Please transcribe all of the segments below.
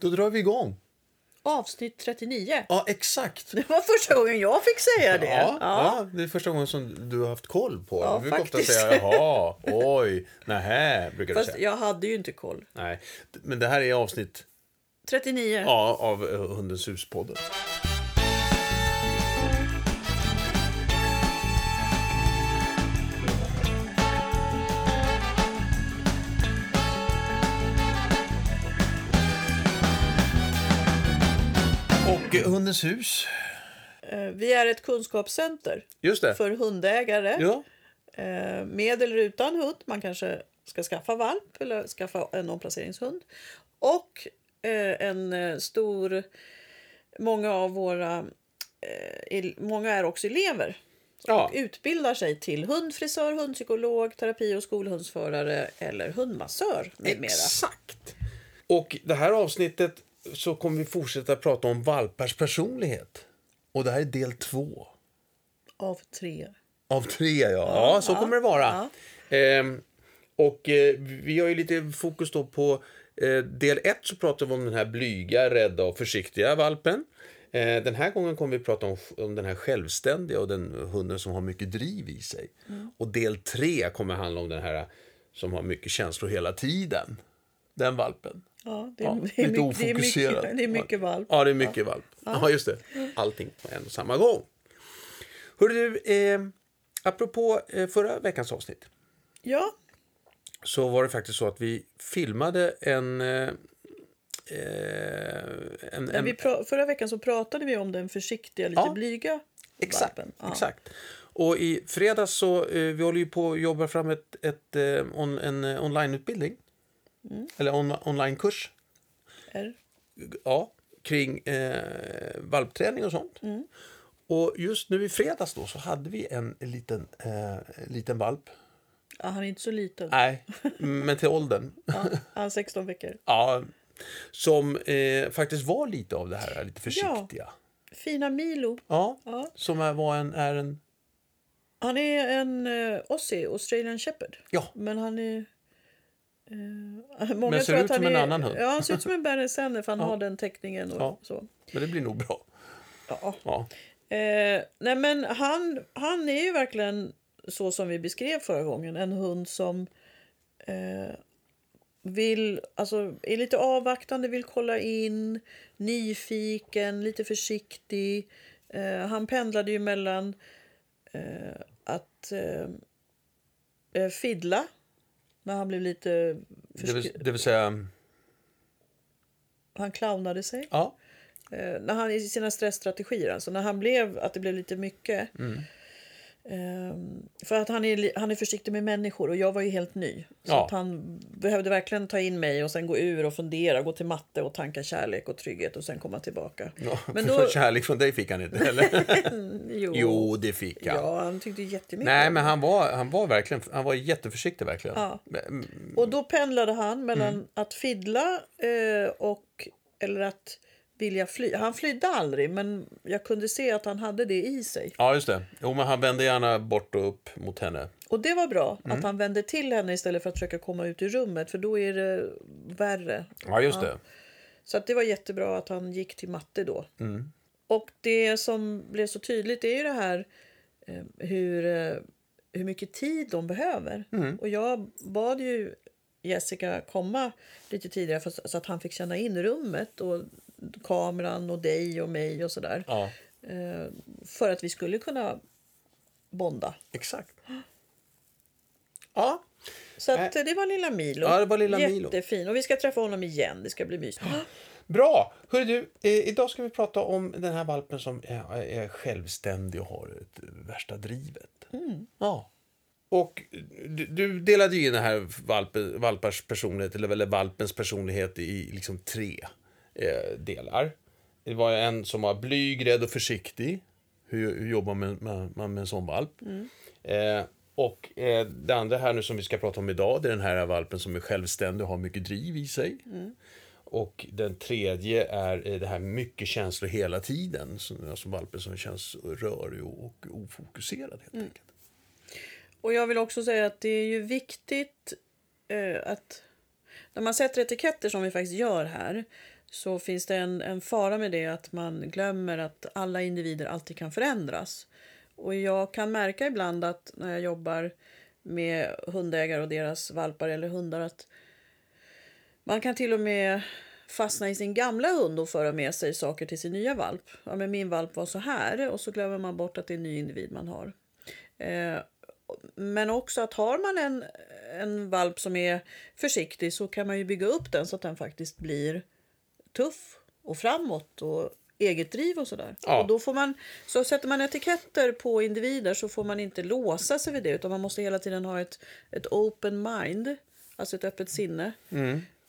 Då drar vi igång. Avsnitt 39. Ja, exakt. Det var första gången jag fick säga det. Ja, ja, det är första gången som du har haft koll på. Ja, du brukar ofta faktiskt. säga jaha, oj, nähä, brukar du Fast säga. jag hade ju inte koll. Nej, men det här är avsnitt 39. ja, av eh, Hundens hus-podden. Och eh, Hundens hus, Eh, Vi är ett kunskapscenter just det. för hundägare Ja. eh, med eller utan hund. Man kanske ska skaffa valp eller skaffa en omplaceringshund. Och eh, en eh, stor... Många av våra... eh, el- Många är också elever. Ja. och utbildar sig till hundfrisör, hundpsykolog, terapi och skolhundsförare eller hundmassör med mera. Exakt. Och det här avsnittet så kommer vi fortsätta prata om valpars personlighet. Och det här är del två. Av tre. Av tre, ja. Ja, så kommer det vara. Ehm, och eh, vi har ju lite fokus då på eh, del ett så pratar vi om den här blyga, rädda och försiktiga valpen. Eh, den här gången kommer vi prata om, om den här självständiga och den hunden som har mycket driv i sig. Och del tre kommer handla om den här som har mycket känslor hela tiden. Den valpen. Ja, det är, Ja, det är lite mycket, det är ofokuserad. mycket, det är mycket valp. Ja, det är mycket valp. Ja, just det. Allting på en och samma gång. Hörru du, eh, apropå eh, förra veckans avsnitt Ja, så var det faktiskt så att vi filmade en... Eh, eh, en, men en vi pra- förra veckan så pratade vi om den försiktiga, lite Ja. blyga exakt, valpen. Ja. exakt. Och i fredags så, eh, vi håller ju på att jobba fram ett, ett, eh, on, en eh, onlineutbildning. Mm. Eller on, onlinekurs. Är- ja, kring eh, valpträning och sånt. Mm. Och just nu i fredags då så hade vi en liten, eh, liten valp. Ja, han är inte så liten. Nej, men till åldern. Ja, han är 16 veckor. Ja, som eh, faktiskt var lite av det här eh, lite försiktiga. Fina Milo. Ja, Ja. som är, var en, är en... Han är en eh, Aussie, Australian Shepherd. Ja, Men han är... Eh, många Men ser tror ut att han som en är, annan hund. Ja, han ser ut som en Berner Senner för han har den teckningen. Och Ja. så. men det blir nog bra. Ja. Ja, Eh, nej men han, han är ju verkligen så som vi beskrev förra gången. En hund som eh, vill, alltså, är lite avvaktande, vill kolla in, nyfiken, lite försiktig. Eh, han pendlade ju mellan eh, att eh, eh, fiddla när han blev lite... det, vill, försk- det vill säga... han clownade sig. Ja, Eh, när han, I sina stressstrategier, alltså när han blev att det blev lite mycket. Mm. Ehm, för att han är, li- han är försiktig med människor och jag var ju helt ny. Så Ja. att han behövde verkligen ta in mig och sen gå ur och fundera, gå till matte och tanka kärlek och trygghet och sen komma tillbaka. ja. Men då, kärlek från dig fick han inte, eller? jo, jo, det fick han. ja, han tyckte jättemycket. Nej, men han var, han var verkligen, han var jätteförsiktig verkligen. Ja. Men- Och då pendlade han mellan Mm. att fiddla eh, och eller att vilja fly. Han flydde aldrig, men jag kunde se att han hade det i sig. Ja, just det. Jo, men han vände gärna bort och upp mot henne. Och det var bra att han vände till henne istället för att försöka komma ut i rummet för då är det värre. Ja, just det. Så att det var jättebra att han gick till matte då. Och det som blev så tydligt är ju det här eh, hur, eh, hur mycket tid de behöver. Och jag bad ju Jessica komma lite tidigare för, så att han fick känna in rummet och kameran och dig och mig och sådär. Ja, Eh, för att vi skulle kunna bonda. exakt. Ja, Så att, eh, det var lilla Milo. Ja, det var lilla Milo. Jättefin. Och vi ska träffa honom igen. Det ska bli mysigt. bra! Hörru du, eh, idag ska vi prata om den här valpen som är, är självständig och har ett värsta drivet. Ja. Och du, du delade ju in den här valpen, valpars personlighet, eller, eller valpens personlighet i liksom tre eh, delar. Det var en som var blyg, rädd och försiktig. Hur, hur jobbar man med, man med en sån valp? Eh, och eh, det andra här nu som vi ska prata om idag, det är den här valpen som är självständig och har mycket driv i sig. Och den tredje är eh, det här mycket känslor hela tiden. Så- Alltså valpen som känns rörig och och ofokuserad helt enkelt. Och jag vill också säga att det är ju viktigt eh, att när man sätter etiketter som vi faktiskt gör här så finns det en, en fara med det att man glömmer att alla individer alltid kan förändras. Och jag kan märka ibland att när jag jobbar med hundägare och deras valpar eller hundar att man kan till och med fastna i sin gamla hund och föra med sig saker till sin nya valp. Ja, men min valp var så här och så glömmer man bort att det är en ny individ man har. Eh, men också att har man en, en valp som är försiktig så kan man ju bygga upp den så att den faktiskt blir tuff och framåt och eget driv och sådär. Ja. Och då får man, så sätter man etiketter på individer så får man inte låsa sig vid det utan man måste hela tiden ha ett, ett open mind, alltså ett öppet sinne.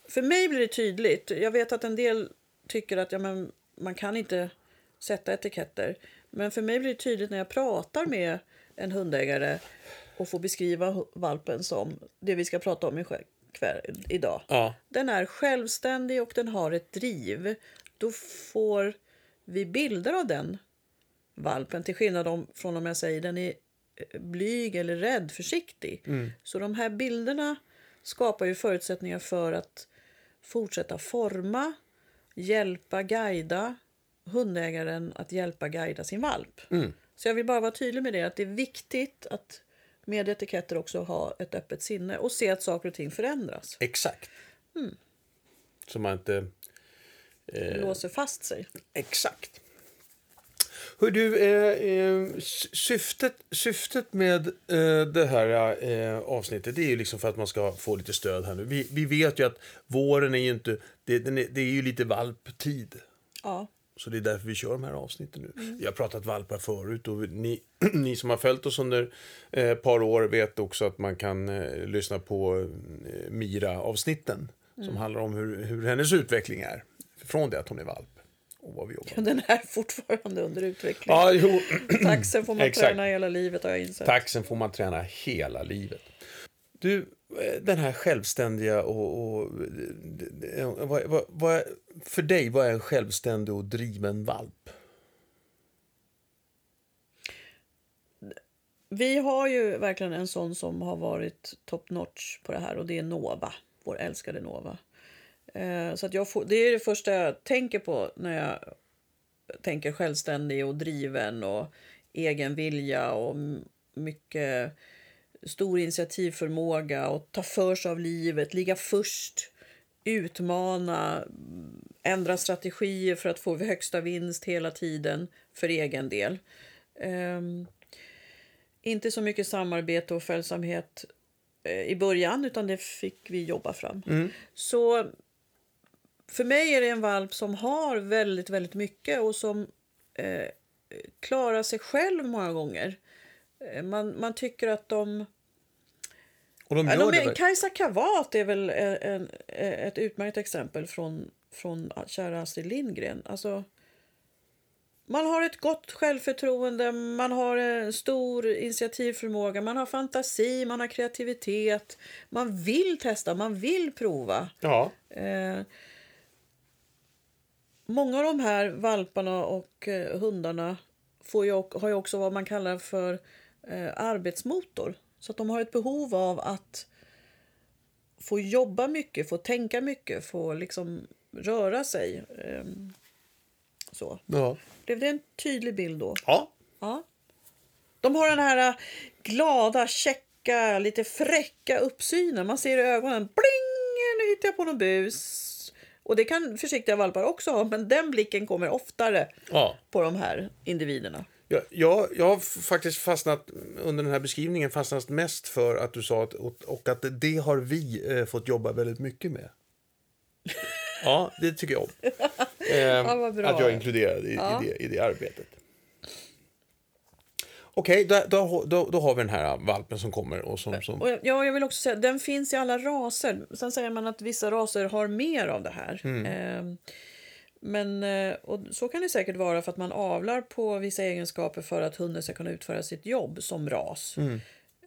För mig blir det tydligt. Jag vet att en del tycker att ja, men man kan inte sätta etiketter. Men för mig blir det tydligt när jag pratar med en hundägare och får beskriva hu- valpen som det vi ska prata om ikväll, idag. Ja. Den är självständig och den har ett driv. Då får vi bilder av den valpen till skillnad om, från om jag säger den är eh, blyg eller rädd, försiktig. Så de här bilderna skapar ju förutsättningar för att fortsätta forma, hjälpa, guida hundägaren att hjälpa guida sin valp. Så jag vill bara vara tydlig med det att det är viktigt att med etiketter också ha ett öppet sinne och se att saker och ting förändras. Exakt. Så man inte... Eh. låser fast sig. Exakt. Hör du, eh, eh, sy- syftet, syftet med eh, det här eh, avsnittet det är ju liksom för att man ska få lite stöd här nu. Vi, vi vet ju att våren är ju inte... Det, den är, det är ju lite valptid. Ja. Så det är därför vi kör de här avsnitten nu. Vi har pratat valpar förut och ni, ni som har följt oss under eh, ett par år vet också att man kan eh, lyssna på eh, Mira-avsnitten som handlar om hur, hur hennes utveckling är från det att hon är valp och vad vi jobbar med. Den är fortfarande under utveckling. Ja, jo. Taxen får man Exakt. träna hela livet har jag insett. Taxen får man träna hela livet. Du, eh, den här självständiga och... och d- d- vad, vad, vad, för dig, vad är en självständig och driven valp? Vi har ju verkligen en sån som har varit top notch på det här och det är Nova, vår älskade Nova. Eh, så att jag får, det är det första jag tänker på när jag tänker självständig och driven och egen vilja och m- mycket stor initiativförmåga och ta för sig av livet, ligga först, utmana, ändra strategier för att få högsta vinst hela tiden för egen del. Ehm, inte så mycket samarbete och följsamhet eh, i början, utan det fick vi jobba fram. Så för mig är det en valp som har väldigt, väldigt mycket och som eh, klarar sig själv många gånger. Eh, Man, man tycker att de... Och de Ja, gör de det är, verkligen. Kajsa Kavat är väl en, en, eh, ett utmärkt exempel från, från kära Astrid Lindgren. Alltså, man har ett gott självförtroende, man har en stor initiativförmåga, man har fantasi, man har kreativitet. Man vill testa, man vill prova. Ja. Eh, många av de här valparna och eh, hundarna får ju, ock- har ju också vad man kallar för eh, arbetsmotor. Så att de har ett behov av att få jobba mycket, få tänka mycket, få liksom röra sig. Eh, så. Ja. Blev det en tydlig bild då? ja. Ja. De har den här äh, glada, checka, lite fräcka uppsynen. Man ser i ögonen. Bling! Nu hittar jag på någon bus. Och det kan försiktiga valpar också ha, men den blicken kommer oftare ja. på de här individerna. Jag, jag, jag har f- faktiskt fastnat under den här beskrivningen fastnat mest för att du sa att, och, och att det har vi eh, fått jobba väldigt mycket med. Ja, det tycker jag om. Eh, vad bra. att jag är inkluderad i, i, det, i det arbetet. Okej, då, då, då, då har vi den här valpen som kommer. Och som, som, Och jag, ja, jag vill också säga den finns i alla raser. Sen säger man att vissa raser har mer av det här. Ehm, men, eh, och så kan det säkert vara för att man avlar på vissa egenskaper för att hunden ska kunna utföra sitt jobb som ras.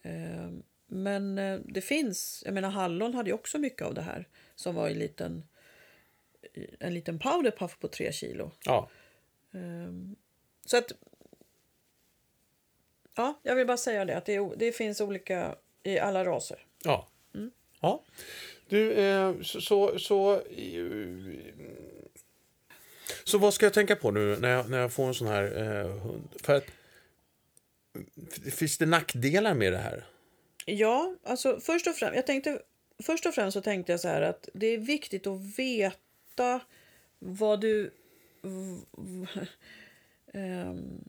Ehm, men eh, det finns, jag menar hallon hade ju också mycket av det här som var i liten, i- en liten powderpuff på tre kilo. ja. Ehm, Så att... Ja, jag vill bara säga det. Att det, är o- det finns olika i alla raser. Ja. Mm. Ja. Du, eh, så, så, så eh, Så vad ska jag tänka på nu när jag, när jag får en sån här eh, hund? För att, f- finns det nackdelar med det här? Ja, alltså först och främst, jag tänkte, först och främst så tänkte jag så här att det är viktigt att veta vad du... v- v- ehm,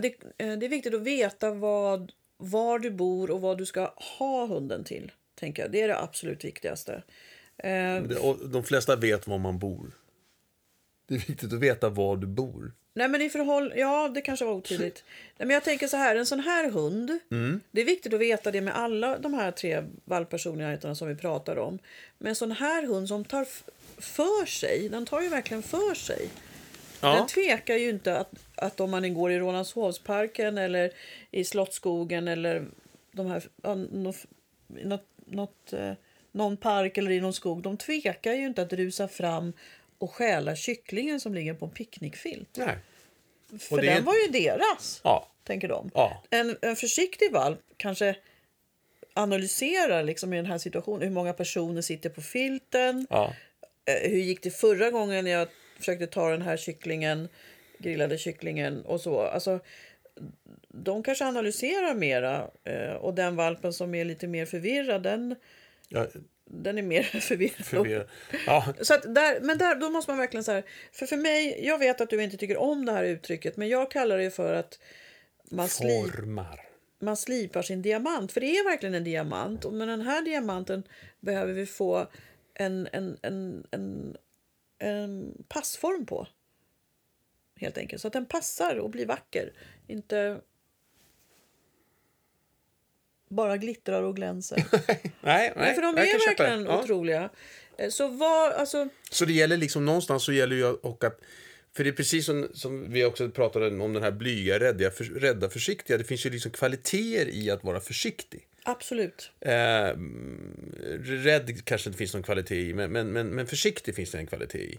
det, eh, det är viktigt att veta vad, var du bor och vad du ska ha hunden till. Tänker jag. Det är det absolut viktigaste. Ehm, Det- Och de flesta vet var man bor. Det är viktigt att veta var du bor. Nej men i förhåll... Ja, det kanske var otydligt. Nej, men jag tänker så här, en sån här hund. Det är viktigt att veta det med alla de här tre valppersonligheterna som vi pratar om. Men en sån här hund som tar f- för sig, den tar ju verkligen för sig. Den Ja. tvekar ju inte att, att om man går i Rålambshovsparken eller i Slottsskogen eller de här, ja, nå- något, något, eh, någon park eller i någon skog. De tvekar ju inte att rusa fram och stjäla kycklingen som ligger på en picknickfilt. Nej. För Och det är- den var ju deras, Ja. tänker de. Ja. En, en försiktig valp kanske analyserar liksom i den här situationen hur många personer sitter på filten. Ja. Eh, Hur gick det förra gången jag försökte ta den här kycklingen, grillade kycklingen och så. Alltså, de kanske analyserar mera eh, och den valpen som är lite mer förvirrad, den, ja. den är mer förvirrad. Förvirrad. Ja. Så att där, men där, då måste man verkligen så här, för för mig, jag vet att du inte tycker om det här uttrycket, men jag kallar det ju för att man, sli, Formar. man slipar sin diamant, för det är verkligen en diamant, och med den här diamanten behöver vi få en, en, en, en, en passform på. Helt enkelt, så att den passar och blir vacker, inte bara glittrar och glänser. Nej, nej, Nej, för de jag kan är köpa det. verkligen Ja. otroliga. Eh, Så vad, alltså... Så det gäller liksom någonstans så gäller ju och att för det är precis som, som vi också pratade om den här blyga, rädda, för, rädda, försiktiga. Det finns ju liksom kvaliteter i att vara försiktig. Absolut. Eh, mm, rädd kanske inte finns någon kvalitet i, men, men, men, men försiktig finns det en kvalitet i.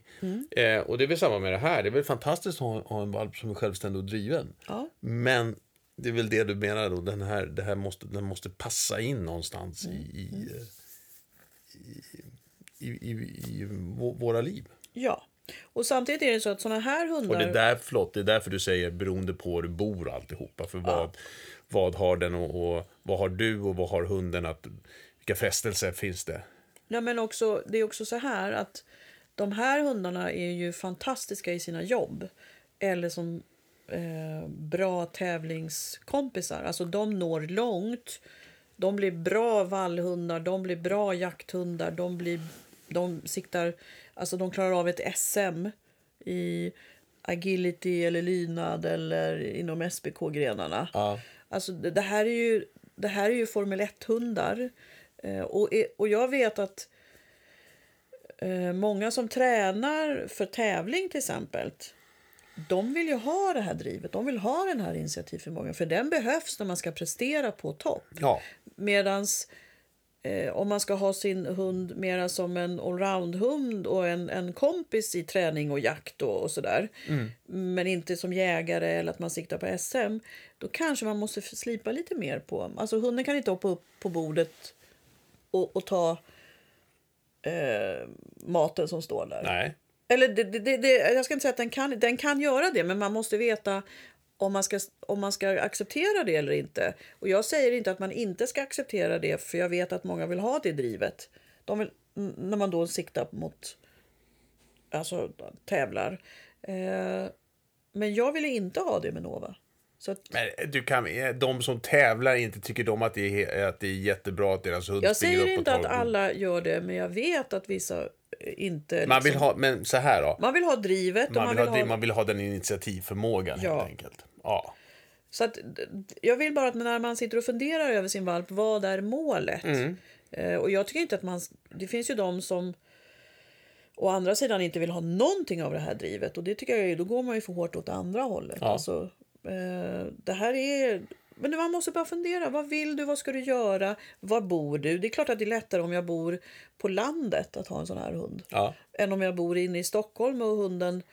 Eh, och det är väl samma med det här. Det är väl fantastiskt att ha, ha en valp som är självständig och driven. Ja. Men det är väl det du menar då, den här, det här måste, den måste passa in någonstans i, i, eh, i, i, i, i vå- våra liv. Ja. Och samtidigt är det så att såna här Och hundar... det är, där, förlåt, det är därför du säger beroende på hur du bor alltihopa. För vad, vad har den och, och vad har du och vad har hunden? Att, vilka frestelser finns det? Nej, men också, det är också så här att de här hundarna är ju fantastiska i sina jobb. Eller som eh, bra tävlingskompisar. Alltså de når långt. De blir bra vallhundar, de blir bra jakthundar, de, blir, de siktar... Alltså de klarar av ett SM i agility eller lydnad eller inom SPK-grenarna. Ja. Alltså det, det här är ju, det här är ju Formel 1-hundar. Eh, och, e- och jag vet att eh, många som tränar för tävling till exempel de vill ju ha det här drivet, de vill ha den här initiativförmågan för den behövs när man ska prestera på topp. Ja, Medans eh, om man ska ha sin hund mera som en allroundhund och en, en kompis i träning och jakt och, och sådär. Men inte som jägare eller att man siktar på SM. Då kanske man måste f- slipa lite mer på. Alltså hunden kan inte hoppa upp på bordet och, och ta eh, maten som står där. nej. Eller det, det, det, det, jag ska inte säga att den kan, den kan göra det, men man måste veta om man, ska, om man ska acceptera det eller inte. Och jag säger inte att man inte ska acceptera det, för jag vet att många vill ha det drivet. De vill, n- när man då siktar mot, alltså tävlar. Eh, men jag ville inte ha det med Nova. Så att, Men du kan, de som tävlar inte tycker de att det är, att det är jättebra att deras hund jag springer upp säger och inte tar att alla gör det, men jag vet att vissa eh, inte... Man vill liksom- ha, men så här då. man vill ha drivet. och Man vill, man ha, man vill ha den initiativförmågan Ja. helt enkelt. Ja. Så att, d- d- jag vill bara att när man sitter och funderar över sin valp, vad är målet? Eh, och jag tycker inte att man... Det finns ju de som å andra sidan inte vill ha någonting av det här drivet. Och det tycker jag ju, då går man ju för hårt åt andra hållet. Ja. Alltså, eh, det här är... Men man måste bara fundera. Vad vill du? Vad ska du göra? Var bor du? Det är klart att det är lättare om jag bor på landet att ha en sån här hund Ja. än om jag bor inne i Stockholm och hunden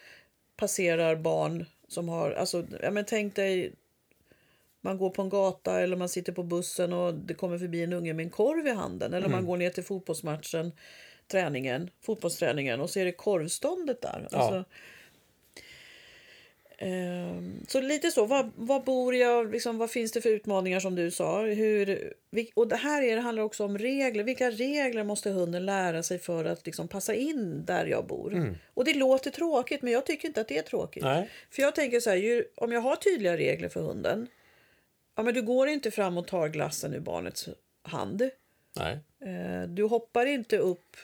passerar barn som har... Alltså, ja, men tänk dig, man går på en gata eller man sitter på bussen och det kommer förbi en unge med en korv i handen. Eller man går ner till fotbollsmatchen, träningen, fotbollsträningen och så är det korvståndet där. Alltså, Ehm, Så lite så, var, var bor jag, liksom, vad finns det för utmaningar som du sa? Hur, vil- och det här är, det handlar också om regler, vilka regler måste hunden lära sig för att liksom, passa in där jag bor? Och det låter tråkigt men jag tycker inte att det är tråkigt. Nej. För jag tänker så här, ju, om jag har tydliga regler för hunden, ja men du går inte fram och tar glassen ur barnets hand. Nej. Eh, Du hoppar inte upp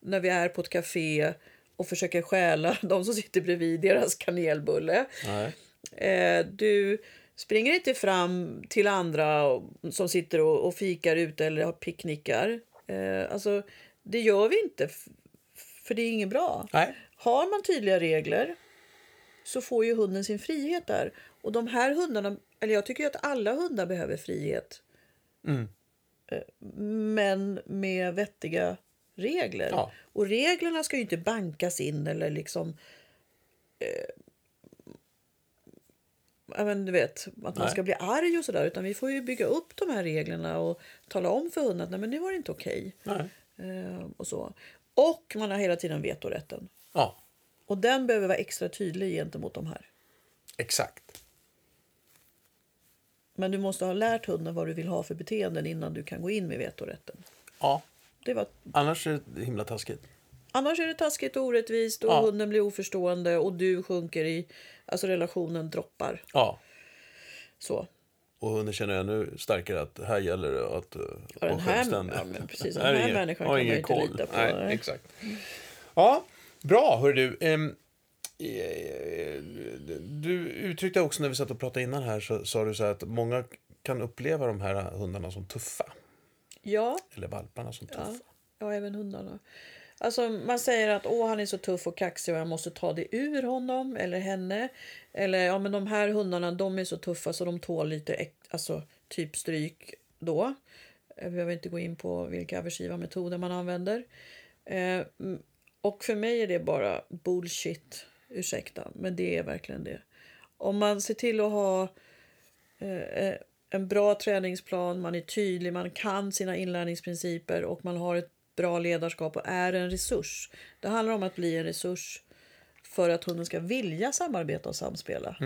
när vi är på ett café och försöker stjäla de som sitter bredvid deras kanelbulle. Nej. Eh, Du springer inte fram till andra och- som sitter och, och fikar ute eller har picknickar. Eh, Alltså, det gör vi inte, f- för det är inget bra. Nej. Har man tydliga regler så får ju hunden sin frihet där. Och de här hundarna, eller jag tycker ju att alla hundar behöver frihet. Mm. Eh, Men med vettiga regler. Ja. Och reglerna ska ju inte bankas in eller liksom... Eh, ja, men du vet, att man Nej. ska bli arg och sådär. Utan vi får ju bygga upp de här reglerna och tala om för hunden att nej, men nu var det inte okej. Nej. Eh, och så. Och man har hela tiden vetorätten. Ja, Och den behöver vara extra tydlig gentemot de här. exakt. Men du måste ha lärt hunden vad du vill ha för beteenden innan du kan gå in med vetorätten. Ja. Det var... Annars är det himla taskigt. Annars är det taskigt och orättvist och Ja. hunden blir oförstående och du sjunker i... Alltså relationen droppar. Ja. Så. Och hunden känner ännu starkare att här gäller det att eh, Ja, den vara här- självständig. ja, men precis. Den Här är här ingen- människan har kan man ingen ju inte koll. lita på. Nej, Nej. exakt. Ja, bra hör du. Ehm, eh, du uttryckte också när vi satt och pratade innan här så sa du så här att många kan uppleva de här hundarna som tuffa. Ja. Eller valparna som tuffa. Ja, Alltså. ja även hundarna. Alltså, man säger att Åh, han är så tuff och kaxig och jag måste ta det ur honom eller henne. Eller ja, men de här hundarna de är så tuffa så de tål lite äk- alltså, typ stryk då. Jag behöver inte gå in på vilka aversiva metoder man använder. Eh, mm, och för mig är det bara bullshit. Ursäkta, men det är verkligen det. Om man ser till att ha eh, en bra träningsplan, man är tydlig, man kan sina inlärningsprinciper och man har ett bra ledarskap och är en resurs. Det handlar om att bli en resurs för att hunden ska vilja samarbeta och samspela.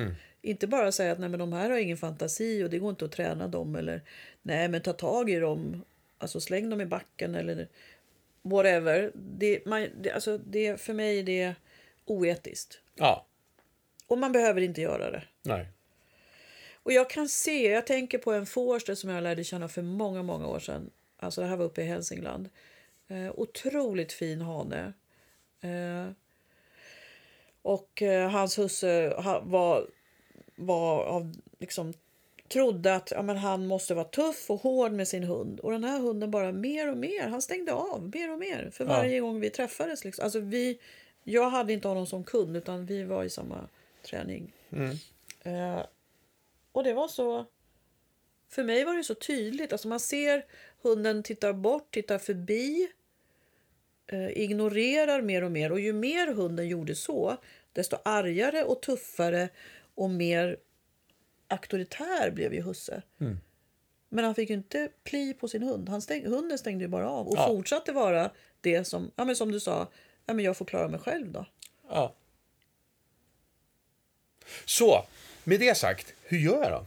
Inte bara säga att nej, men de här har ingen fantasi och det går inte att träna dem eller nej men ta tag i dem, alltså släng dem i backen eller whatever. Det, man, det, alltså, det, för mig är det oetiskt. Ja, Och man behöver inte göra det. nej. Och jag kan se, jag tänker på en forster som jag lärde känna för många, många år sedan. Alltså det här var uppe i Hälsingland. Eh, otroligt fin hane. Eh, och eh, hans husse ha, var, var av, liksom, trodde att ja, men han måste vara tuff och hård med sin hund. Och den här hunden bara mer och mer, han stängde av mer och mer. För Ja. varje gång vi träffades. Liksom. Alltså, vi, jag hade inte honom som kund utan vi var i samma träning. Eh, och det var så... För mig var det så tydligt. Alltså man ser hunden tittar bort, tittar förbi, eh, ignorerar mer och mer. Och ju mer hunden gjorde så, desto argare och tuffare och mer auktoritär blev ju husse. Men han fick ju inte pli på sin hund. Han stäng, hunden stängde ju bara av och Ja. fortsatte vara det som, ja, men som du sa, ja, men jag får klara mig själv då. Ja. Så, med det sagt, hur gör jag då?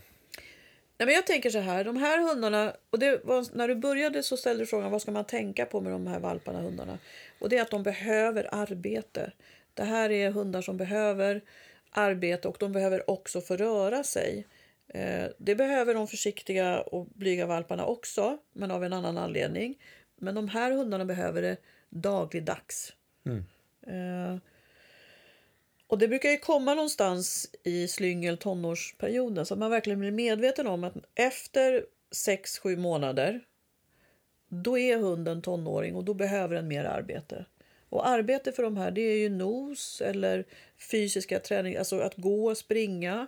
Nej, men jag tänker så här, de här hundarna, och det var, när du började så ställde du frågan vad ska man tänka på med de här valparna hundarna? Och det är att de behöver arbete. Det här är hundar som behöver arbete och de behöver också få röra sig. Eh, det behöver de försiktiga och blyga valparna också, men av en annan anledning. Men de här hundarna behöver det dagligdags. Eh, och det brukar ju komma någonstans i slyngel tonårsperioden så att man verkligen blir medveten om att efter 6-7 månader då är hunden tonåring och då behöver den mer arbete. Och arbete för de här det är ju nos eller fysiska träning, alltså att gå, springa,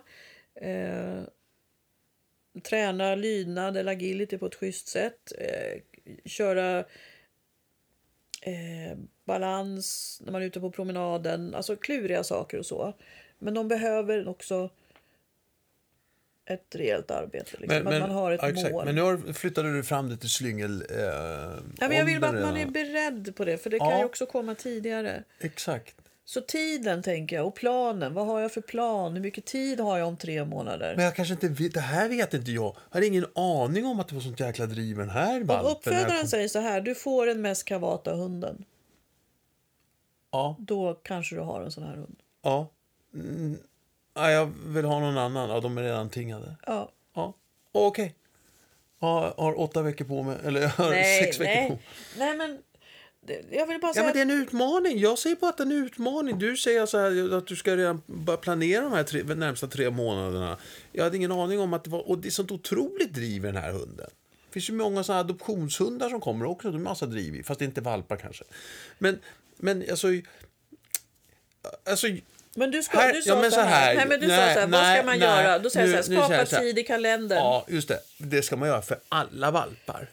eh, träna lydnad eller agility på ett schysst sätt, eh, köra eh, balans när man är ute på promenaden. Alltså kluriga saker och så. Men de behöver också ett rejält arbete. Liksom. att man har ett ja, exakt. mål. Men nu har- flyttade du fram det till slyngel... Eh, Ja, men jag vill bara åldern att man är redan. beredd på det, för det kan Ja. ju också komma tidigare. Exakt. Så tiden tänker jag, och planen. Vad har jag för plan? Hur mycket tid har jag om tre månader? Men jag kanske inte vet, det här vet inte jag. Jag hade ingen aning om att det var sånt jäkla driv med den här valpen. Om När jag kom- uppfödaren säger så här, du får den mest kavata hunden. Ja, Då kanske du har en sån här hund. ja. Mm, ja, jag vill ha någon annan. Ja, de är redan tingade. Ja. Ja, okej. Ja, jag har åtta veckor på mig. Eller jag har sex veckor på nej. mig. nej, men det- jag vill bara Ja, säga men det är en utmaning. Jag säger bara att det är en utmaning. Du säger så här att du ska redan börja planera de här tre, de närmsta tre månaderna. Jag hade ingen aning om att det var... Och det är sånt otroligt driv i den här hunden. Det finns ju många såna här adoptionshundar som kommer också. De är massa driv i, fast det är inte valpar kanske. Men, men alltså... Alltså, Men du, ska, Här- du sa ja, men så så här, här. Nej, men du sa Nej, så här vad nej, ska man nej. göra? Då säger Nu- jag så nu här, säger skapa jag så här. tid i kalendern. Ja. ja, just det. Det ska man göra för alla valpar.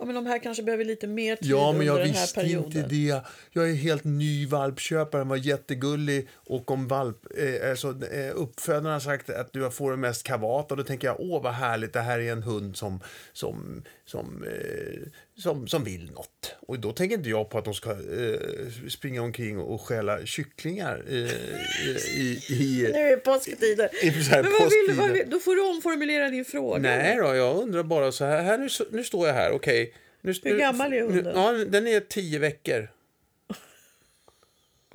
men de här kanske behöver lite mer tid Ja, men under jag den här visste perioden. inte det. Jag är helt ny valpköpare. Den var jättegullig. Och om valp, eh, alltså, eh, uppfödaren har sagt att du får den mest kavata, då tänker jag åh vad härligt, det här är en hund som, som, som, eh, som, som vill något. Och då tänker inte jag på att de ska eh, springa omkring och stjäla kycklingar eh, i, i, Nu är det påsktider. i, i så här Men vad vill, påsktider. vad vill, då får du omformulera din fråga. Nej då, jag undrar bara så här. här nu, nu står jag här, okej. Nu, Hur nu- gammal är hunden? Nu, ja, den är tio veckor.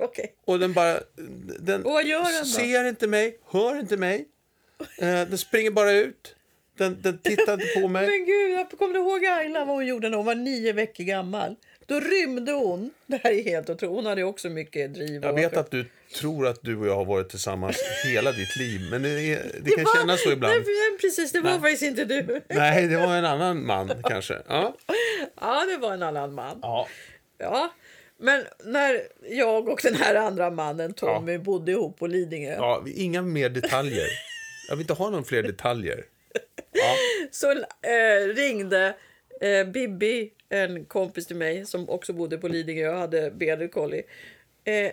Okej. Och den bara... Den Och vad gör den då? ser inte mig, hör inte mig. Eh, den springer bara ut. Den, den tittar inte på mig. Men gud, jag kommer du ihåg Ayla vad hon gjorde när hon var nio veckor gammal? Då rymde hon. Det här är helt otroligt. Hon hade ju också mycket driv. Jag och- vet att du tror att du och jag har varit tillsammans hela ditt liv, men det, är, det kan var- kännas så ibland. Nej, men precis. Det var faktiskt inte du. Nej, det var en annan man kanske. Ja. Ja, det var en annan man. Ja. Ja, men när jag och den här andra mannen, Tommy, bodde ihop på Lidingö Ja, inga mer detaljer. Jag vill inte ha någon fler detaljer. så eh, ringde eh, Bibi, en kompis till mig som också bodde på Lidingö och hade Bearded Collie. Eh,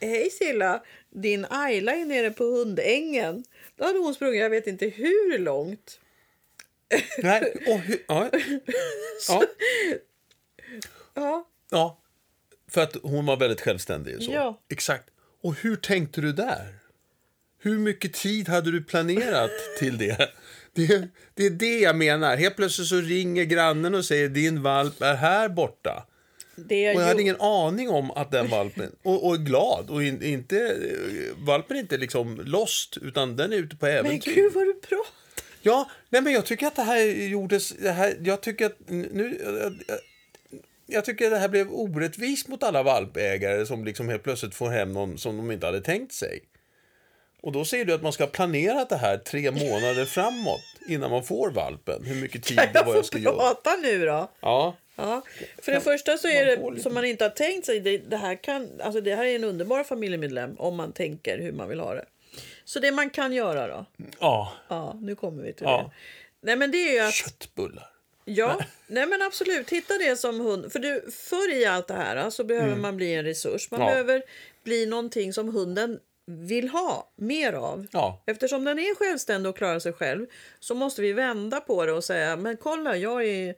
Hej Silla, din Ayla är nere på hundängen. Då hade hon sprungit jag vet inte hur långt. Nej, och hur, ja. Ja. Ja, Ja, för att hon var väldigt självständig. Så. Ja. Exakt. Och hur tänkte du där? Hur mycket tid hade du planerat till det? det? Det är det jag menar. Helt plötsligt så ringer grannen och säger din valp är här borta. det jag Och jag hade gjorde- ingen aning om att den valpen... Och, och är glad. Och in, inte, eh, valpen är inte liksom lost, utan den är ute på Men äventyr. gud vad du pratar! Ja, nej men jag tycker att det här gjordes... Det här, jag tycker att nu... Jag, jag, jag tycker att det här blev orättvist mot alla valpägare som liksom helt plötsligt får hem någon som de inte hade tänkt sig. Och då säger du att man ska planera det här tre månader framåt innan man får valpen. Hur mycket tid Kan och vad jag jag få ska göra. prata nu då? Ja, Ja, för det första så är man får det lite- som man inte har tänkt sig. Det, det, här kan, alltså det här är en underbar familjemedlem om man tänker hur man vill ha det. Så det man kan göra då. ja. Ja, nu kommer vi till Ja. det. Nej men det är ju att, Köttbullar. ja, nej men absolut, hitta det som hund. För du, förr i allt det här så alltså, behöver man bli en resurs. Man Mm. Ja. behöver bli någonting som hunden vill ha mer av. Ja. Eftersom den är självständig och klarar sig själv så måste vi vända på det och säga men kolla jag är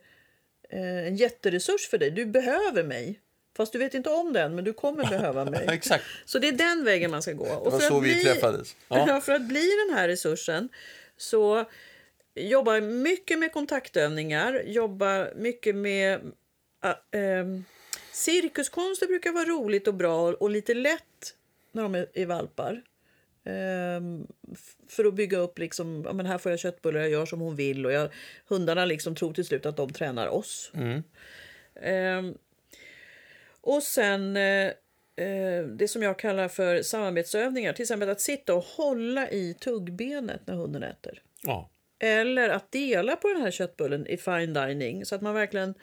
eh, en jätteresurs för dig. Du behöver mig. Fast du vet inte om den, men du kommer behöva mig. Exakt. Så det är den vägen man ska gå. Och var så vi träffades. Ja. Ja. för att bli den här resursen så jobbar jag mycket med kontaktövningar, jobbar mycket med äh, ehm, cirkuskonst. Det brukar vara roligt och bra och lite lätt när de är, är valpar. Ehm, f- för att bygga upp liksom, ja, men här får jag köttbullar, jag gör som hon vill och jag, hundarna liksom tror till slut att de tränar oss. Mm. Ehm, och sen eh, eh, det som jag kallar för samarbetsövningar. Till exempel att sitta och hålla i tuggbenet när hunden äter. Ja. Eller att dela på den här köttbullen i fine dining så att man verkligen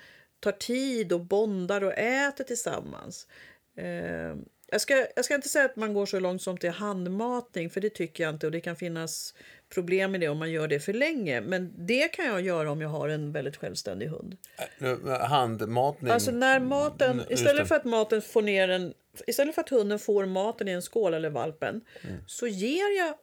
tar tid och bondar och äter tillsammans. Eh, jag, ska, jag ska inte säga att man går så långt som till handmatning för det tycker jag inte och det kan finnas problem med det om man gör det för länge. Men det kan jag göra om jag har en väldigt självständig hund. Äh, nu, Handmatning. Alltså när maten, Mm. just istället det. för att maten får ner en, istället för att hunden får maten i en skål eller valpen så ger jag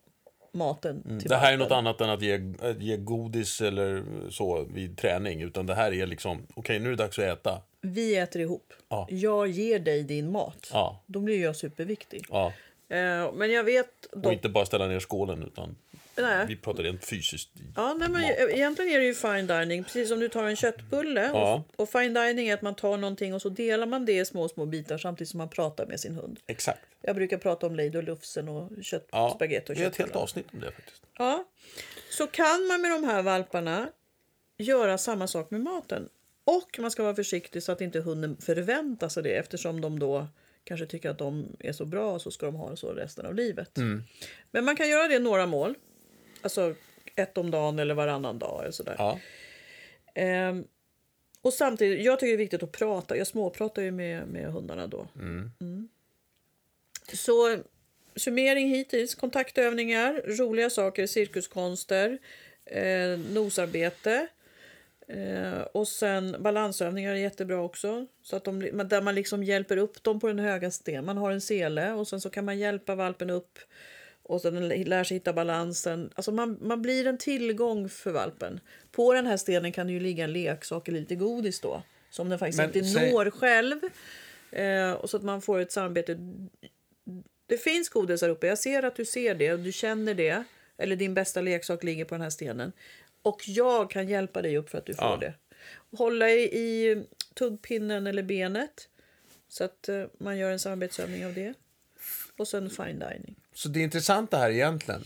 maten till Mm. Det här är valpen. något annat än att ge, att ge godis eller så vid träning. Utan det här är liksom, okej nu är det dags att äta. vi äter ihop. Ja. Jag ger dig din mat. Ja. Då blir jag superviktig. ja. Eh, men jag vet... Och dock- inte bara ställa ner skålen utan Nej. vi pratar rent fysiskt. Ja, nej, men e- egentligen är det ju fine dining. Precis som du tar en köttbulle. Ja. Och, och fine dining är att man tar någonting och så delar man det i små, små bitar samtidigt som man pratar med sin hund. Exakt. Jag brukar prata om lejd och lufsen och kött, Ja. spagetti och Vi har ett helt köttbullar. avsnitt om det faktiskt. Ja. Så kan man med de här valparna göra samma sak med maten. Och man ska vara försiktig så att inte hunden förväntar sig det eftersom de då kanske tycker att de är så bra och så ska de ha det så resten av livet. Men man kan göra det några mål. Alltså ett om dagen eller varannan dag eller sådär. Ja. Ehm, och samtidigt, jag tycker det är viktigt att prata. Jag småpratar ju med, med hundarna då. Mm. Så summering hittills. Kontaktövningar, roliga saker, cirkuskonster, eh, nosarbete. Eh, och sen balansövningar är jättebra också. Så att de, men där man liksom hjälper upp dem på den höga sten. Man har en sele och sen så kan man hjälpa valpen upp. Och sen lär sig hitta balansen. Alltså man, man blir en tillgång för valpen. På den här stenen kan det ju ligga en leksak eller lite godis då. Som den faktiskt Men inte säg- når själv. Eh, och så att man får ett samarbete. Det finns godis här uppe. Jag ser att du ser det och du känner det. Eller din bästa leksak ligger på den här stenen. Och jag kan hjälpa dig upp för att du får Ja. det. Hålla i, i tuggpinnen eller benet. Så att eh, man gör en samarbetsövning av det. Och sen fine dining. Så det intressanta här egentligen,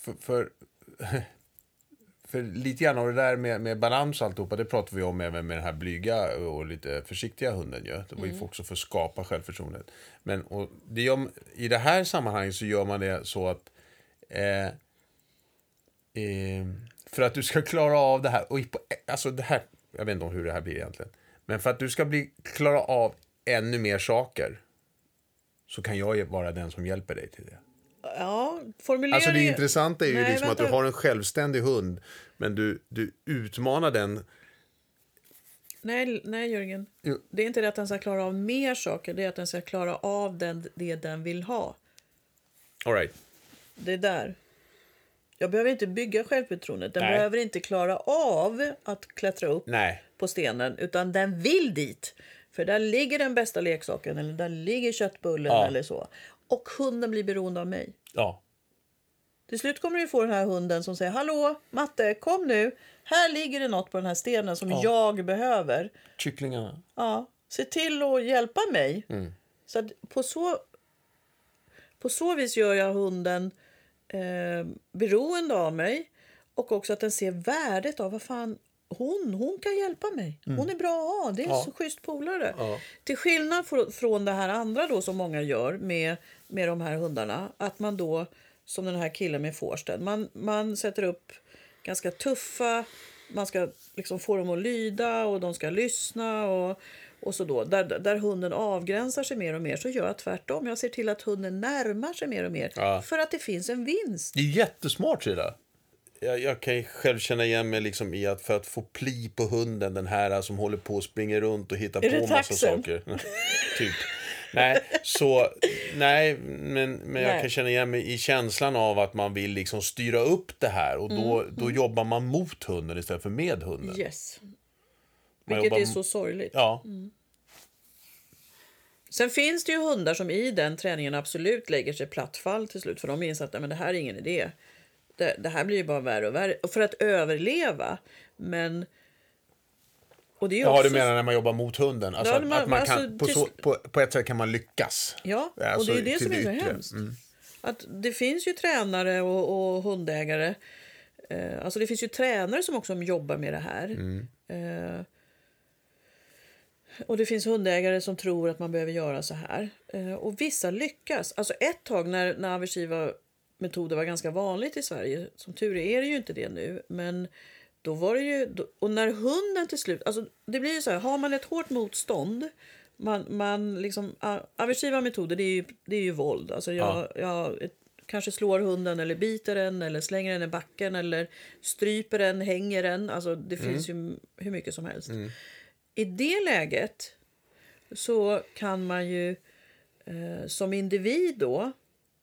för, för, för lite grann av det där med, med balans och alltihopa, det pratade vi om även med den här blyga och lite försiktiga hunden ju. Det var ju också för att skapa självförtroendet. Men och det gör, i det här sammanhanget så gör man det så att eh, eh, för att du ska klara av det här, och i- på, alltså det här, jag vet inte om hur det här blir egentligen, men för att du ska bli, klara av ännu mer saker så kan jag ju vara den som hjälper dig till det. Ja, formulera Alltså det det- intressanta är ju Nej, liksom att du vänta. har en självständig hund, men du, du utmanar den. Nej, nej Jörgen. Jo. Det är inte det att den ska klara av mer saker. Det är att den ska klara av den, det den vill ha. All right. Det är där. Jag behöver inte bygga självförtroendet. Den Nej. behöver inte klara av att klättra upp Nej. på stenen. Utan den vill dit. För där ligger den bästa leksaken. Eller där ligger köttbullen Ja. eller så. Och hunden blir beroende av mig. Ja. Till slut kommer du få den här hunden som säger Hallå, matte, kom nu. Här ligger det något på den här stenen som jag behöver. Kycklingarna. Ja, se till att hjälpa mig. Så att på så, på så vis gör jag hunden eh, beroende av mig och också att den ser värdet av vad fan hon, hon kan hjälpa mig. Hon är bra att ha. Det är en så schysst polare. Till skillnad fr- från det här andra då som många gör med, med de här hundarna. Att man då, som den här killen med fårsten, man, man sätter upp ganska tuffa. Man ska liksom få dem att lyda och de ska lyssna. och, och så då. Där, där hunden avgränsar sig mer och mer så gör jag tvärtom. Jag ser till att hunden närmar sig mer och mer Ja. för att det finns en vinst. Det är jättesmart Frida. Jag, jag kan ju själv känna igen mig liksom i att för att få pli på hunden, den här som håller på och springer runt och hittar Är på det massa taxen? saker. typ. Nej, så, nej men, men jag Nej. kan känna igen mig i känslan av att man vill liksom styra upp det här och då, Mm. då jobbar man mot hunden istället för med hunden. Yes. Man Vilket jobbar- är så Mm. sorgligt. Ja, Sen finns det ju hundar som i den träningen absolut lägger sig plattfall till slut för de inser att nej, men det här är ingen idé. Det, det här blir ju bara värre och värre Och för att överleva. Men... Och det är ju Ja, också... du menar när man jobbar mot hunden. Alltså, Ja, att- man- att man kan, alltså, på, till- så, på, på ett sätt kan man lyckas. Ja, och Alltså, det är det till Mm. som är så yttre. hemskt. Att det finns ju tränare och, och hundägare. Eh, alltså det finns ju tränare som också jobbar med det här. Mm. Eh, och det finns hundägare som tror att man behöver göra så här. Eh, och vissa lyckas. Alltså ett tag när, när aversiva metoder var ganska vanligt i Sverige, som tur är, är det ju inte det nu, men då var det ju, då- och när hunden till slut, alltså det blir ju så här, har man ett hårt motstånd, man, man liksom, a- aversiva metoder det är ju, det är ju våld, alltså jag, Ja. jag ett, kanske slår hunden eller biter den eller slänger den i backen eller stryper den, hänger den, alltså det finns ju hur mycket som helst. I det läget så kan man ju eh, som individ då,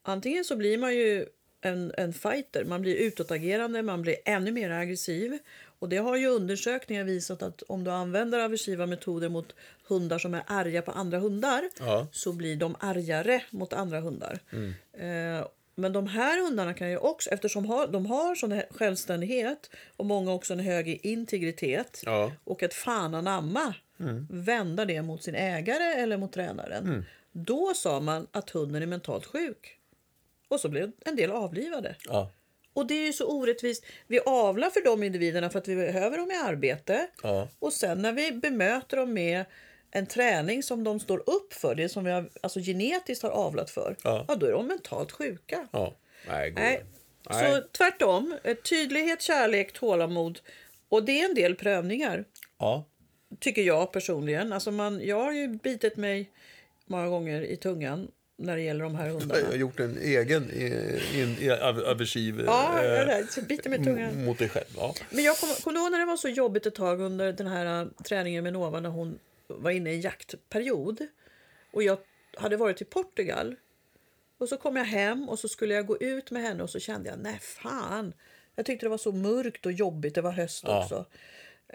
antingen så blir man ju en, en fighter. Man blir utåtagerande, man blir ännu mer aggressiv. Och det har ju undersökningar visat att om du använder aggressiva metoder mot hundar som är arga på andra hundar Ja. så blir de argare mot andra hundar. Eh, men de här hundarna kan ju också, eftersom ha, de har sån här självständighet och många också en hög integritet Ja. Mm. och ett fan anamma vända det mot sin ägare eller mot tränaren. Då sa man att hunden är mentalt sjuk. Och så blev en del avlivade. Ja. Och det är ju så orättvist. Vi avlar för de individerna för att vi behöver dem i arbete. Ja. Och sen när vi bemöter dem med en träning som de står upp för, det som vi har, alltså genetiskt har avlat för, Ja. då är de mentalt sjuka. ja. Nej, god. Nej. Nej. Så tvärtom, eh, tydlighet, kärlek, tålamod. Och det är en del prövningar Ja. tycker jag personligen. Alltså man, jag har ju bitit mig många gånger i tungan när det gäller de här Jag har hundarna. gjort en egen eh, in, i- av- aversiv eh, Ja, jag är rädd. Så biter mig i tungan. m- mot dig själv. Ja. Men jag kommer kom du ihåg när det var så jobbigt ett tag under den här äh, träningen med Nova när hon var inne i en jaktperiod. Och jag hade varit i Portugal. Och så kom jag hem och så skulle jag gå ut med henne och så kände jag, nej fan. Jag tyckte det var så mörkt och jobbigt, det var höst Ja. också.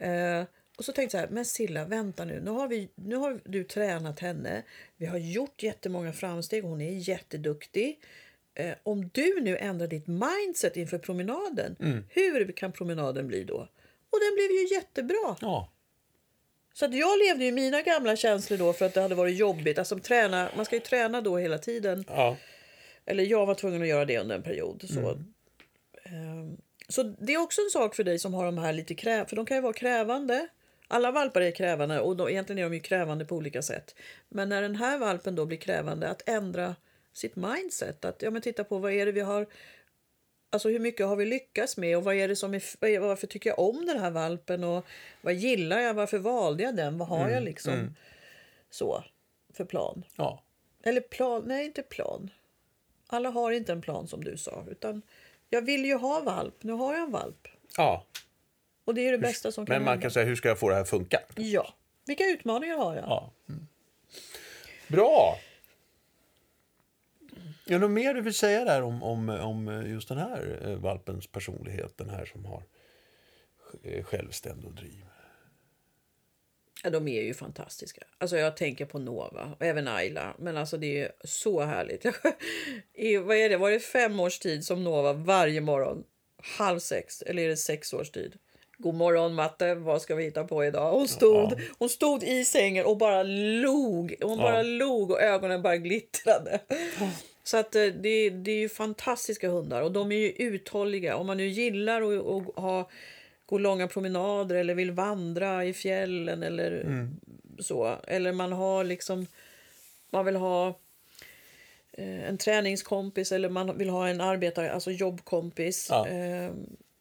Eh, och så tänkte jag så här, men Silla vänta nu, nu har, vi, nu har du tränat henne. Vi har gjort jättemånga framsteg, hon är jätteduktig. Eh, om du nu ändrar ditt mindset inför promenaden, hur kan promenaden bli då? Och den blev ju jättebra. Ja. Så att jag levde ju mina gamla känslor då för att det hade varit jobbigt. Alltså, träna, man ska ju träna då hela tiden. Ja. Eller jag var tvungen att göra det under en period. Så, Ehm, så det är också en sak för dig som har de här lite krä- för de kan ju vara krävande. Alla valpar är krävande och de, egentligen är de ju krävande på olika sätt. Men när den här valpen då blir krävande att ändra sitt mindset. Att ja, men titta på vad är det vi har Alltså hur mycket har vi lyckats med och vad är det som är, vad är, varför tycker jag om den här valpen och vad gillar jag, varför valde jag den, vad har jag liksom så för plan? ja. Eller plan, nej inte plan. Alla har inte en plan som du sa. Utan jag vill ju ha valp, nu har jag en valp. ja. Och det är det bästa som kan Men man hända. kan säga, hur ska jag få det här att funka? Ja. Vilka utmaningar har jag? Ja. Mm. Bra! Är det något mer du vill säga där om, om, om just den här eh, valpens personlighet? Den här som har eh, självständig och driv. Ja, de är ju fantastiska. Alltså jag tänker på Nova och även Ayla. Men alltså det är så härligt. I, vad är det? Var det fem års tid som Nova varje morgon halv sex? Eller är det sex års tid? God morgon matte, vad ska vi hitta på idag? Hon stod, hon stod i sängen och bara log. Hon bara log och ögonen bara glittrade. Så att eh, det, det är ju fantastiska hundar och de är ju uthålliga. Om man nu gillar att att ha gå långa promenader eller vill vandra i fjällen eller så. Eller man har liksom man vill ha eh, en träningskompis eller man vill ha en arbetare, alltså jobbkompis. Ja. Eh,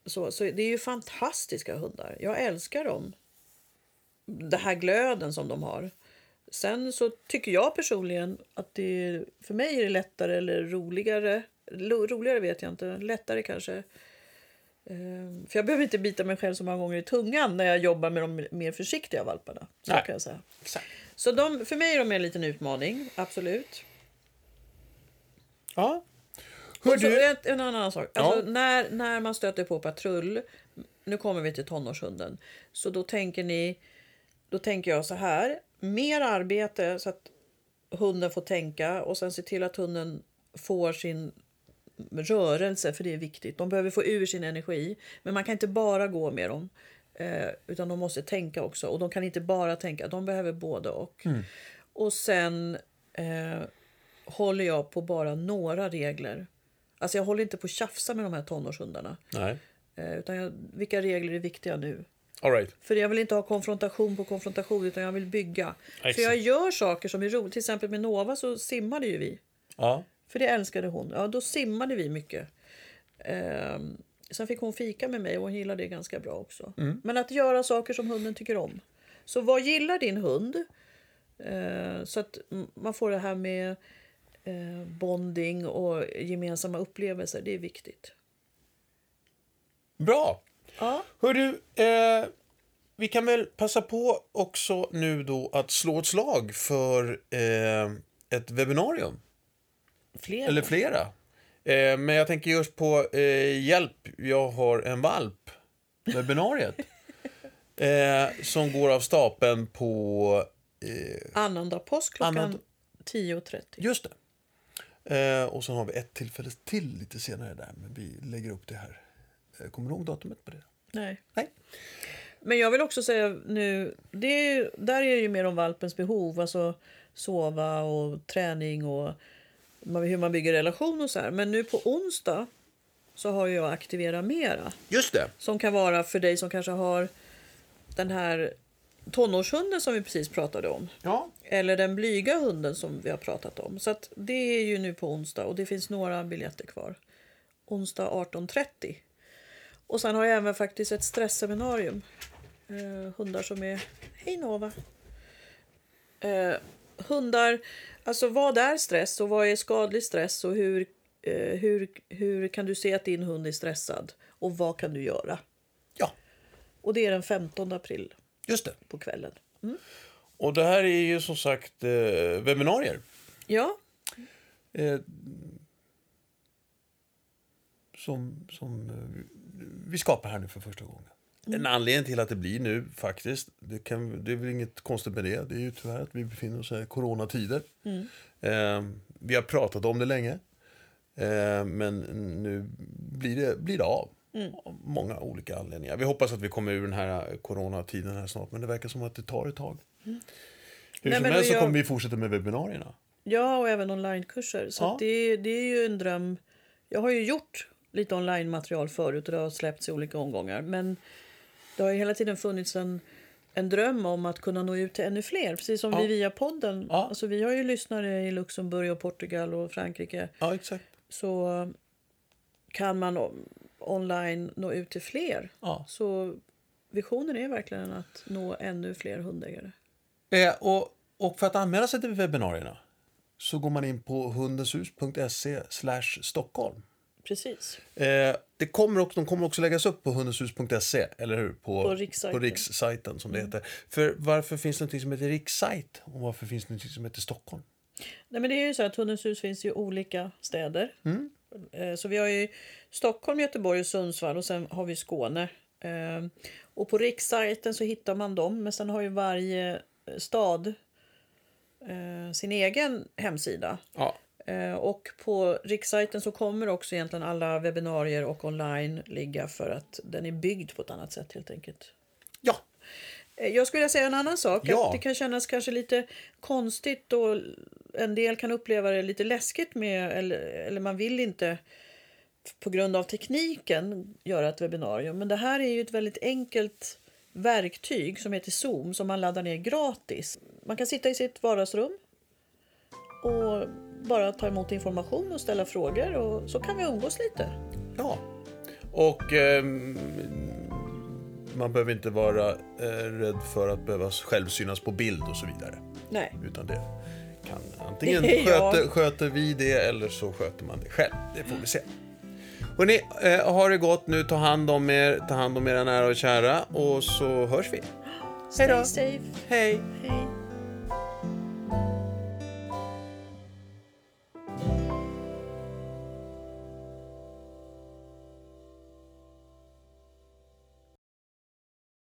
så, så det är ju fantastiska hundar. Jag älskar dem. Det här glöden som de har. Sen så tycker jag personligen att det är, för mig är det lättare eller roligare. Lo, roligare vet jag inte. Lättare kanske. Eh, för jag behöver inte bita mig själv så många gånger i tungan när jag jobbar med de mer försiktiga valparna. Så Nej. kan jag säga. Exakt. Så de, för mig är de en liten utmaning, absolut. Ja. Hör Och så du... ett, en annan sak. Ja. Alltså, när, när man stöter på patrull, nu kommer vi till tonårshunden, så då tänker ni, då tänker jag så här, mer arbete så att hunden får tänka och sen se till att hunden får sin rörelse, för det är viktigt. De behöver få ur sin energi, men man kan inte bara gå med dem. Eh, utan de måste tänka också och de kan inte bara tänka, de behöver både och. Och sen eh, håller jag på bara några regler. Alltså jag håller inte på att tjafsa med de här tonårshundarna. Nej. Eh, utan jag, vilka regler är viktiga nu? All right. För jag vill inte ha konfrontation på konfrontation utan jag vill bygga. Exakt. Så jag gör saker som är roligt. Till exempel med Nova så simmade ju vi. Ja. För det älskade hon. Ja, då simmade vi mycket. Ehm, sen fick hon fika med mig och hon gillade det ganska bra också. Men att göra saker som hunden tycker om. Så vad gillar din hund? Eh, så att mm, man får det här med eh, bonding och gemensamma upplevelser. Det är viktigt. Bra! Ja. Hör du, eh, vi kan väl passa på också nu då att slå ett slag för eh, ett webbinarium. Fler. Eller flera. Eh, men jag tänker just på eh, hjälp, jag har en valp. Webbinariet. eh, som går av stapeln på... Eh, Annandag påsk klockan Annandag- 10.30. just det. Eh, och sen har vi ett tillfälle till lite senare där. Men vi lägger upp det här. Eh, Kommer du ihåg datumet på det? Nej. Nej. Men jag vill också säga nu, det är, ju- där är det ju mer om valpens behov, alltså sova och träning och man- hur man bygger relation och så här. Men nu på onsdag så har ju jag Aktivera Mera Just det. som kan vara för dig som kanske har den här tonårshunden som vi precis pratade om. Ja. Eller den blyga hunden som vi har pratat om. Så att det är ju nu på onsdag och det finns några biljetter kvar. Onsdag 18.30. Och sen har jag även faktiskt ett stressseminarium. Eh, hundar som är... Hej Nova! Eh, hundar, alltså vad är stress och vad är skadlig stress och hur, eh, hur, hur kan du se att din hund är stressad och vad kan du göra? Ja, Och det är den 15 april just det. på kvällen. Och det här är ju som sagt eh, webbinarier. Ja, Eh, som som eh, vi skapar här nu för första gången. En anledning till att det blir nu faktiskt, det, kan, det är väl inget konstigt med det. Det är ju tyvärr att vi befinner oss i coronatider. Eh, vi har pratat om det länge. Eh, men nu blir det, blir det av. Av många olika anledningar. Vi hoppas att vi kommer ur den här coronatiden här snart. Men det verkar som att det tar ett tag. Hur Nej, som men helst och så jag- kommer vi fortsätta med webbinarierna. Ja, och även onlinekurser. Så Ja. att det, det är ju en dröm. Jag har ju gjort lite online-material förut och det har släppts i olika omgångar. Men det har ju hela tiden funnits en, en dröm om att kunna nå ut till ännu fler. Precis som vi via podden. Ja. Alltså, vi har ju lyssnare i Luxemburg och Portugal och Frankrike. Ja, exakt. Så kan man o- online nå ut till fler. Ja. Så visionen är verkligen att nå ännu fler hundägare. Eh, och, och för att anmäla sig till webbinarierna så går man in på hundenshus.se Stockholm. Precis. Eh, det kommer också, de kommer också läggas upp på hundenshus.se, eller hur? På rikssajten. Mm. På rikssajten som det heter. För varför finns det något som heter rikssajt och varför finns det något som heter Stockholm? Nej, men det är ju så att Hundens hus finns i olika städer. Eh, Så vi har ju Stockholm, Göteborg och Sundsvall och sen har vi Skåne. Eh, Och på rikssajten så hittar man dem, men sen har ju varje eh, stad eh, sin egen hemsida. Ja. Eh, Och på rikssajten så kommer också egentligen alla webbinarier och online ligga för att den är byggd på ett annat sätt helt enkelt. Ja, Eh, Jag skulle vilja säga en annan sak. Ja. Att det kan kännas kanske lite konstigt och en del kan uppleva det lite läskigt med eller, eller man vill inte på grund av tekniken göra ett webbinarium. Men det här är ju ett väldigt enkelt verktyg som heter Zoom som man laddar ner gratis. Man kan sitta i sitt vardagsrum och bara ta emot information och ställa frågor och så kan vi umgås lite. ja. Och ehm, man behöver inte vara eh, rädd för att behöva själv synas på bild och så vidare. Nej. Utan det kan antingen Det är jag. sköter, sköter vi det eller så sköter man det själv. Det får vi se. Hörrni, eh, har det gott nu. Ta hand om er, ta hand om era nära och kära och så hörs vi. Hej då. Stay safe. Hej. Hej.